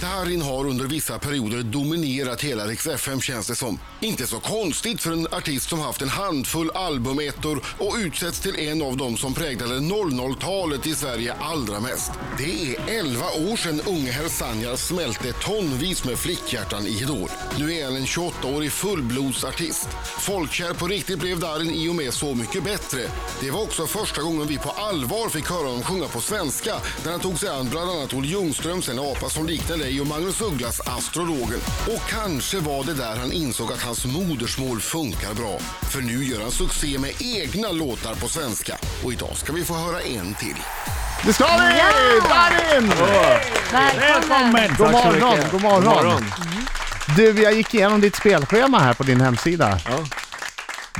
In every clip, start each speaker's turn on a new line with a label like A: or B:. A: Karin har under vissa perioder dominerat hela Rix FM känns det som. Inte så konstigt för en artist som haft en handfull albumettor och utsätts till en av dem som präglade 00-talet i Sverige allra mest. Det är 11 år sedan unge herr Sanjar smälte tonvis med flickhjärtan i Idol. Nu är han en 28-årig fullblodsartist. Folkkär på riktigt blev Darin i och med Så mycket bättre. Det var också första gången vi på allvar fick höra honom sjunga på svenska när han tog sig an bland annat Olle Ljungströms En apa som liknar dig och Magnus Ugglas Astrologen. Och kanske var det där han insåg att hans modersmål funkar bra. För nu gör han succé med egna låtar på svenska. Och idag ska vi få höra en till.
B: Det ska vi!
C: Ja!
B: Darin!
C: Välkommen!
B: God
D: Tack så
B: morgon,
D: mycket.
B: god morgon. Mm. Du, jag gick igenom ditt spelschema här på din hemsida.
D: Ja.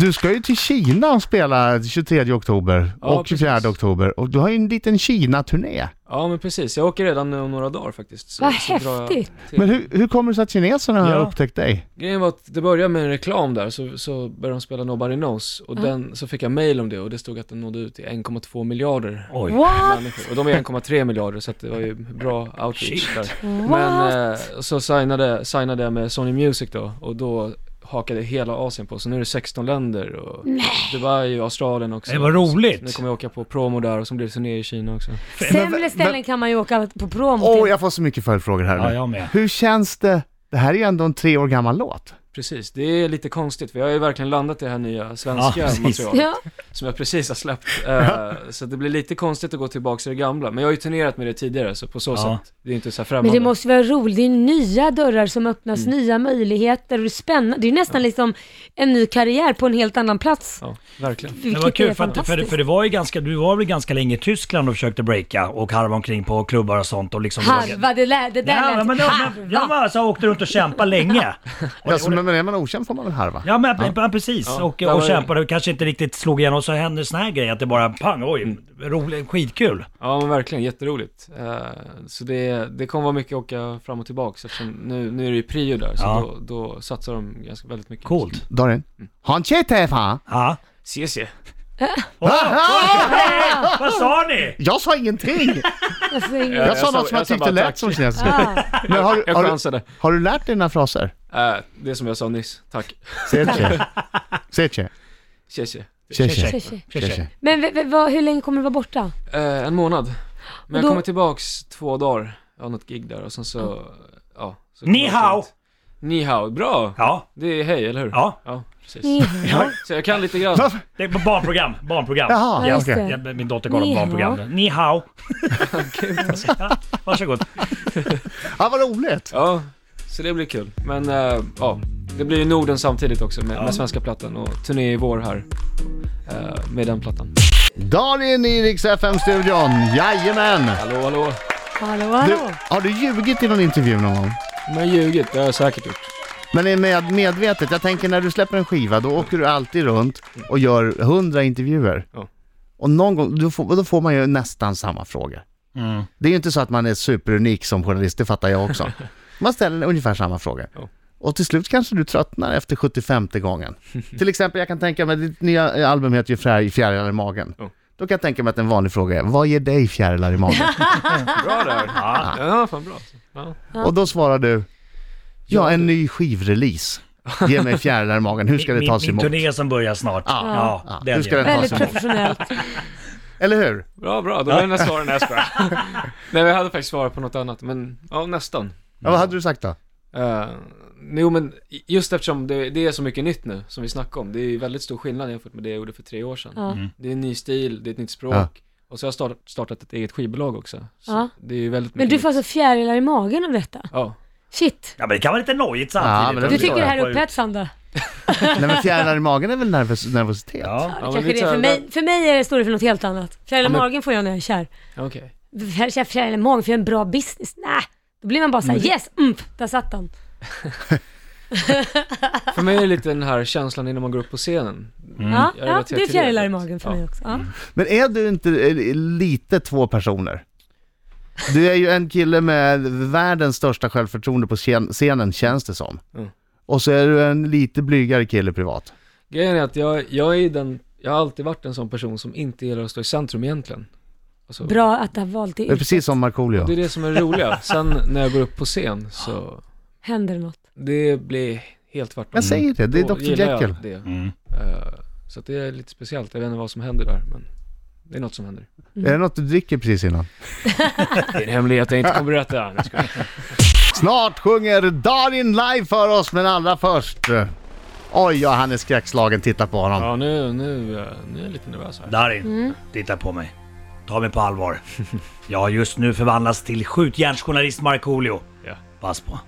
B: Du ska ju till Kina och spela 23 oktober
D: Ja,
B: och 24
D: precis.
B: oktober och du har ju en liten Kina-turné.
D: Ja men precis, jag åker redan om några dagar faktiskt. Så,
C: Vad
D: så drar jag
C: häftigt.
D: till.
B: Men hur, hur kommer det sig att kineserna har
D: Ja.
B: upptäckt dig?
D: Grejen var att det började med en reklam där, så, så började de spela Nobody Knows och den, så fick jag mail om det och det stod att den nådde ut till 1,2 miljarder
E: Oj.
C: What?
D: människor. Och de är 1,3 miljarder så att det var ju bra outreach där.
C: What?
D: Men eh, så signade, signade jag med Sony Music då och då hakade hela Asien på, så nu är det 16 länder och Dubai och Australien också.
E: Det var roligt.
D: Så Nu kommer jag åka på promo där och så blir det turné i Kina också.
C: Sämre ställen kan man ju åka på promo
B: Åh,
C: till.
B: jag får så mycket följdfrågor här
E: Ja,
B: nu.
E: jag med.
B: Hur känns det? Det här är ju ändå en tre år gammal låt.
D: Precis, det är lite konstigt för jag har ju verkligen landat i det här nya svenska
E: Ja, precis.
D: materialet
C: Ja.
D: som jag precis har släppt. Eh, så det blir lite konstigt att gå tillbaka till det gamla. Men jag har ju turnerat med det tidigare så på så
E: Ja.
D: sätt, det är inte så här
C: Men
D: främmande.
C: det måste vara roligt, det är nya dörrar som öppnas,
E: Mm.
C: nya möjligheter och det är spännande. Det är ju nästan liksom en ny karriär på en helt annan plats.
D: Ja, verkligen.
E: Det
C: Vilket
E: var kul
C: är
E: för, att, för,
C: fantastiskt.
E: för det var ju ganska, du var väl ganska länge i Tyskland och försökte breaka och harva omkring på klubbar och sånt och liksom...
C: Harva, det, lä, det där
E: Ja,
C: lät
E: men, ja, men, ja,
C: harva.
E: men alltså, jag åkte runt och kämpade länge.
B: Ja, så, Alltså, men är man okänd får man väl harva?
E: Ja men ja. precis,
D: Ja.
E: och,
D: Där var
E: och
D: det-
E: kämpade och kanske inte riktigt slog igenom och så hände sån här grej att det bara pang, oj, roligt, skitkul.
D: Ja men verkligen, jätteroligt. Eh, så det, det kommer vara mycket åka fram och tillbaka eftersom nu, nu är det ju prio där så
E: Ja.
D: då, då satsar de ganska väldigt mycket.
E: Coolt.
B: Darin?
D: Mm.
B: Han tjejtar fan!
E: Ja.
D: CC.
E: Vad sa ni?
B: Jag sa ingenting!
C: Jag får Ah, alltså, ingen-
B: Jag sa
D: sa-
B: något som
D: jag
B: jag
D: sa
B: tyckte
D: bara
B: lät
D: tack.
B: som kinesiska.
C: Ah,
B: Men har, du-
D: Jag
B: har, du-
D: chansade.
B: har du lärt dig dina fraser?
D: Eh, det är som jag sa nyss, tack.
B: Seche. Seche.
D: CC. Eh,
B: Seche.
C: tjej, tjej.
B: Seche.
C: Men v, v, vad, hur länge kommer du vara borta?
D: Eh, en månad. Men
C: Och då-
D: jag kommer tillbaks två dagar. Jag har något gig där och sen så, ja. Så
E: Ni
D: kommer jag
E: hao.
D: runt. Ni hao, bra!
E: Ja,
D: Det är hej, eller hur?
E: ja.
D: Ja, precis.
C: Ni hao.
D: Så jag kan lite grann.
B: Varför?
E: Det är på barnprogram, barnprogram.
B: Jaha,
C: Ja, just
B: okej.
C: det.
E: Ja, Min dotter kollar
C: Ni
E: på
C: hao.
E: barnprogram. Ni hao. Ja, Varsågod.
B: Ja, vad roligt!
D: Ja, så det blir kul. Men eh, ja, det blir ju Norden samtidigt också med,
E: Ja.
D: med svenska plattan och turné i vår här eh, med den plattan.
B: Darin i Rix FM-studion. Jajamän!
D: Hallå, hallå.
C: Hallå,
B: Du,
C: hallå.
B: har du ljugit i någon intervju någon gång?
D: Men ljugit, det har jag säkert gjort.
B: Men är med, medvetet, jag tänker när du släpper en skiva då åker du alltid runt och gör hundra intervjuer.
D: Ja.
B: Och någon gång, då får, då får man ju nästan samma frågor.
E: Mm.
B: Det är ju inte så att man är superunik som journalist, det fattar jag också. Man ställer ungefär samma frågor.
D: Ja.
B: Och till slut kanske du tröttnar efter 75 gången. till exempel, jag kan tänka mig, ditt nya eh, album heter ju Fjär- Fjärilar i magen.
D: Ja.
B: Då kan jag tänka mig att en vanlig fråga är, vad ger dig fjärilar i magen?
D: Bra där.
E: Ja.
D: Ja, fan bra. Ja.
B: Och då svarar du, ja en ny skivrelease. Ge mig fjärilar i magen, hur ska det
E: Min-
B: tas
E: Min
B: emot?
E: turné som börjar snart.
B: Ja.
E: Ja,
B: Ja.
E: den
B: Hur ska
E: gör
B: den
E: jag.
B: tas
C: Väldigt
B: emot?
C: professionellt.
B: Eller hur?
D: Bra, bra. Då var det nästa svar när jag skojar. Nej, men jag hade faktiskt svarat på något annat, men ja, nästan.
B: Ja, vad hade du sagt då?
D: Uh, jo men just eftersom det, det är så mycket nytt nu som vi snackar om, det är ju väldigt stor skillnad jämfört med det jag gjorde för tre år sedan.
C: Ja.
D: Det är en ny stil, det är ett nytt språk.
B: Ja.
D: Och så har jag startat, startat ett eget skivbolag också. Så
C: Ja.
D: Det är ju väldigt
C: Men
D: mycket
C: du får
D: nytt.
C: alltså fjärilar i magen av detta?
D: Ja.
C: Shit.
E: Ja men det kan vara lite nojigt
B: Ja,
E: samtidigt.
B: men det
C: Du
B: Jag
C: tycker
B: förstår
C: det här
E: Hoppa
C: är
E: ut.
C: upphetsande?
B: Nej men fjärilar i magen är väl nervös, nervositet?
E: Ja.
D: men
C: Kanske
D: det
C: det.
D: tror
C: För
D: jag-
C: mig, för mig är det, står det för något helt annat. Fjärilar i
D: Ja, men-
C: magen får jag när jag är kär.
D: Okej.
C: Fjär- fjär- Fjärilar i magen, för jag är en bra business. Nej, då blir man bara såhär yes, mm, där satt den.
D: För mig är det lite den här känslan innan man går upp på scenen.
C: Ja,
D: Jag
C: ja,
D: relaterar
C: det är
D: till
C: fjärilar
D: Mm.
C: i
D: det.
C: magen för
D: Ja. Mm.
C: mig också. Ja.
B: Men är du inte eh, lite två personer? Du är ju en kille med världens största självförtroende på scen- scenen känns det som.
D: Mm.
B: Och så är du en lite blygare kille privat.
D: Grejen är att jag, jag är den, jag har alltid varit en sån person som inte gillar att stå i centrum egentligen. Alltså,
C: Bra att du har valt det.
B: Det är precis som Markoolio.
D: Det är det som är roliga. Sen när jag går upp på scen så,
C: Händer det något?
D: det blir helt tvärtom.
B: Jag säger det, det är
D: Då
B: Dr
D: gillar jag
B: Jekyll.
D: det.
E: Mm.
D: Eh, Så att det är lite speciellt, jag vet inte vad som händer där men det är något som händer.
B: Är det något du dricker precis innan?
D: Det är en hemlighet jag inte kommer berätta. Nu ska jag-
B: Snart sjunger Darin live för oss, men allra först... eh, Oj, ja, han är skräckslagen. Titta på honom.
D: Ja nu, nu, eh, nu är jag lite nervös här.
E: Darin, titta på mig. Ta mig på allvar. Jag har just nu förvandlats till skjutjärnsjournalist Markoolio.
D: Ja.
E: Pass på.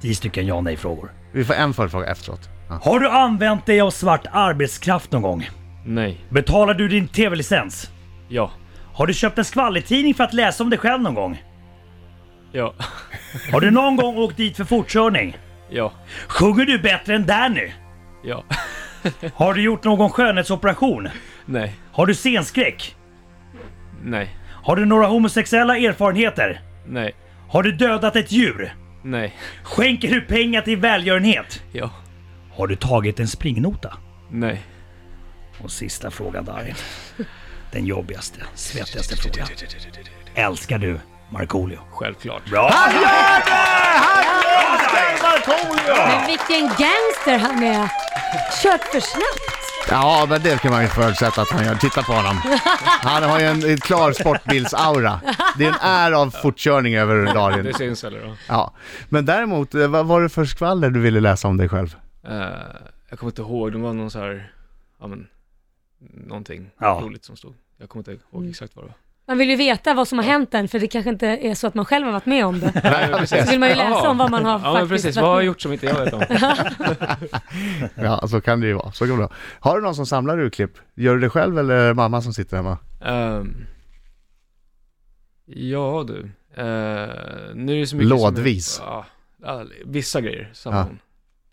E: Tio stycken ja och nej-frågor.
B: Vi får en följdfråga efteråt. Ja.
E: Har du använt dig av svart arbetskraft någon gång?
D: Nej,
E: Betalar du din tv-licens?
D: ja,
E: Har du köpt en skvallertidning för att läsa om dig själv någon gång?
D: ja,
E: Har du någon gång åkt dit för fortkörning?
D: ja,
E: Sjunger du bättre än Danny?
D: ja,
E: Har du gjort någon skönhetsoperation?
D: nej,
E: Har du scenskräck?
D: nej,
E: Har du några homosexuella erfarenheter?
D: nej,
E: Har du dödat ett djur?
D: nej,
E: Skänker du pengar till välgörenhet?
D: ja,
E: Har du tagit en springnota?
D: nej.
E: Och sista frågan Darin. Den jobbigaste, svettigaste frågan. Älskar du Markoolio?
D: Självklart.
E: Bra!
C: Men vilken gangster han är! Kört för snabbt!
B: Ja, men det kan man ju förutsätta att han gör. Titta på honom. Han har ju en, en klar sportbilsaura. Det är en är av fortkörning över
D: Det
B: Darin.
D: syns eller då?
B: Ja. Men däremot, eh, vad var det för skvaller du ville läsa om dig själv?
D: Eh, jag kommer inte ihåg, det var någon så här, ja men, någonting
E: Ja.
D: roligt som stod. Jag kommer inte ihåg exakt vad det var.
C: Man vill ju veta vad som har hänt en, för det kanske inte är så att man själv har varit med om det.
B: Nej, men
C: Så vill man ju läsa
D: Jaha.
C: om vad man har
D: Ja men
C: faktiskt
D: precis,
C: varit
D: vad har jag
C: med
D: gjort som inte jag vet om?
B: Ja, så kan det ju vara. Så kan det vara. Har du någon som samlar urklipp? Gör du det själv eller är det mamma som sitter hemma?
D: Ehm, ja du, Eh, nu är det så mycket
B: Lådvis.
D: Som, ja, ja, vissa grejer samlar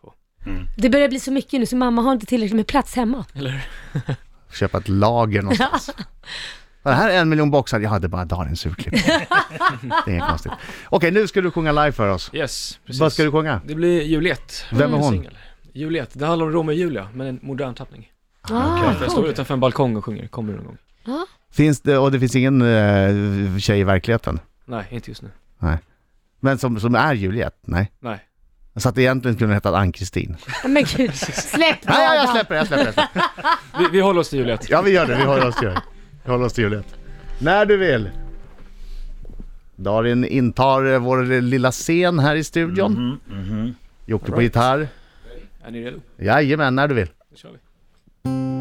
B: Ja.
D: hon,
C: Det börjar bli så mycket nu, så mamma har inte tillräckligt med plats hemma.
D: eller
B: Köpa ett lager någonstans. Men här är en miljon boxar. Ja, det är bara Darins urklipp. Det är inget konstigt. Okej, nu ska du sjunga live för oss.
D: Yes, precis.
B: Vad ska du sjunga?
D: Det blir Juliet. Mm.
B: Vem är hon?
D: Singel. Juliet, det handlar om Romeo och Julia, men en modern tappning.
C: Ah,
D: Jag står utanför en balkong och sjunger, kommer du någon gång?
B: Finns det, och det finns ingen eh, tjej i verkligheten?
D: Nej, inte just nu.
B: Men som, som är Juliet? Nej.
D: Nej.
B: Så att egentligen kunde hon heta Ann-Kristin.
C: Ah, men gud, släpp
B: Nej, ja, jag
C: Adam.
B: släpper det, jag släpper det.
D: Vi, vi håller oss till Juliet.
B: Ja, vi gör det. Vi håller oss till Juliet. Vi håller oss till Juliet. När du vill. Darin intar eh, vår lilla scen här i studion. Jocke på
D: Alright.
B: gitarr.
D: Är ni redo?
B: Jajamän, när du vill.
D: Nu kör vi.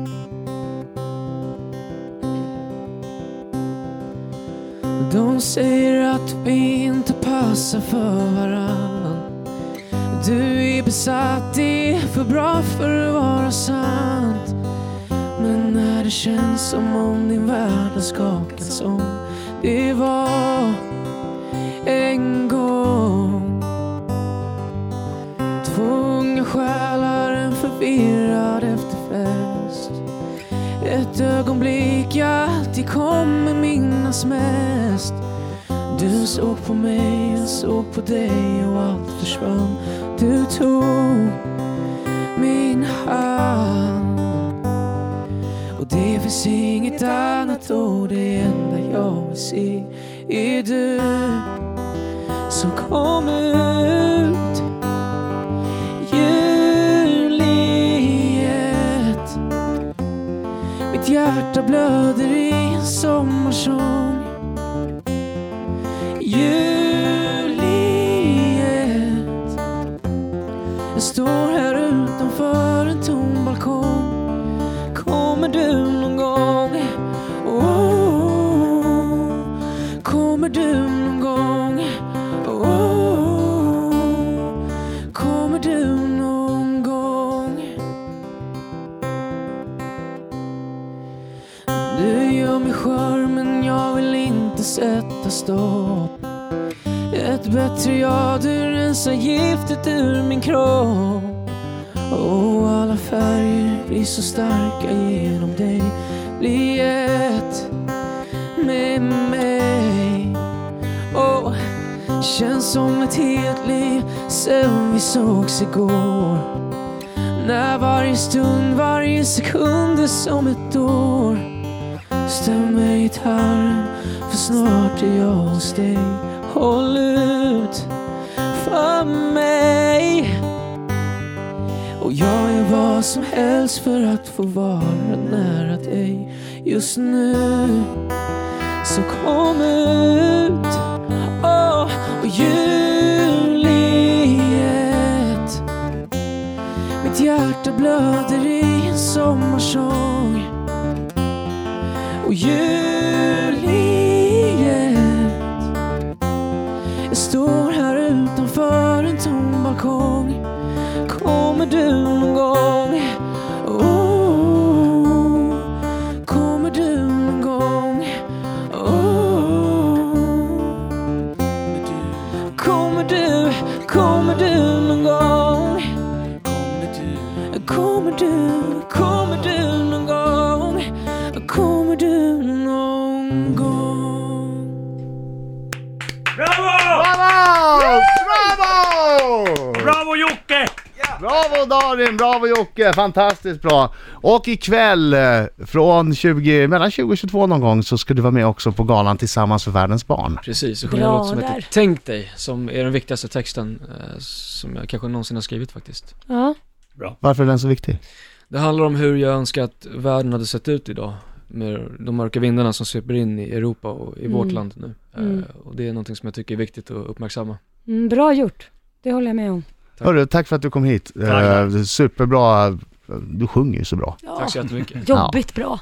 F: De säger att vi inte passar för varann Du är besatt, det är för bra för att vara sant Men när det känns som om din värld har skakats om Det var en gång Två unga själar, en förvirrad efterfest ett ögonblick jag alltid kommer minnas mest Du såg på mig, jag såg på dig och allt försvann Du tog min hand Och det finns inget annat ord, det enda jag vill se är du som kommer ut Juliet mitt hjärta blöder i en sommarsång Juliet Jag står här utanför en tom balkong Kommer du någon gång? Oh, kommer du någon gång? Oh, kommer du någon gång? Du gör mig skör men jag vill inte sätta stopp Ett bättre jag, du rensar giftet ur min kropp Och alla färger blir så starka genom dig Bli ett med mig Och känns som ett helt liv sen vi sågs igår när varje stund, varje sekund är som ett år Stämmer gitarren för snart är jag hos dig Håll ut för mig Och jag är vad som helst för att få vara nära dig just nu Så kom ut Åh, och Juliet Mitt hjärta blöder i en sommarsång och Juliet Jag står här utanför en tom balkong Kommer du någon gång? Oh, kommer du någon gång? Oh, kommer du, kommer du någon gång? Kommer du, kommer du någon gång? Kommer du någon gång?
B: Bravo! Bravo!
E: Bravo Jocke!
B: Bravo Darin, bravo Jocke, fantastiskt bra! Och ikväll eh, från 20, mellan 20 och 22 någon gång så ska du vara med också på galan Tillsammans för världens barn.
D: Precis, och sjunga en
C: Bra
D: låt som heter
C: där.
D: Tänk dig, som är den viktigaste texten eh, som jag kanske någonsin har skrivit faktiskt.
C: Ja.
B: Varför är den så viktig?
D: Det handlar om hur jag önskar att världen hade sett ut idag med de mörka vindarna som sveper in i Europa och i vårt
C: Mm.
D: land nu. Eh,
C: Mm.
D: Och det är någonting som jag tycker är viktigt att uppmärksamma.
C: Mm, bra gjort. Det håller jag med om.
D: Tack.
B: Hörru, tack för att du kom hit.
E: tack.
B: Eh, superbra, du sjunger ju så bra.
C: Ja.
D: Tack så jättemycket.
C: Jobbigt bra.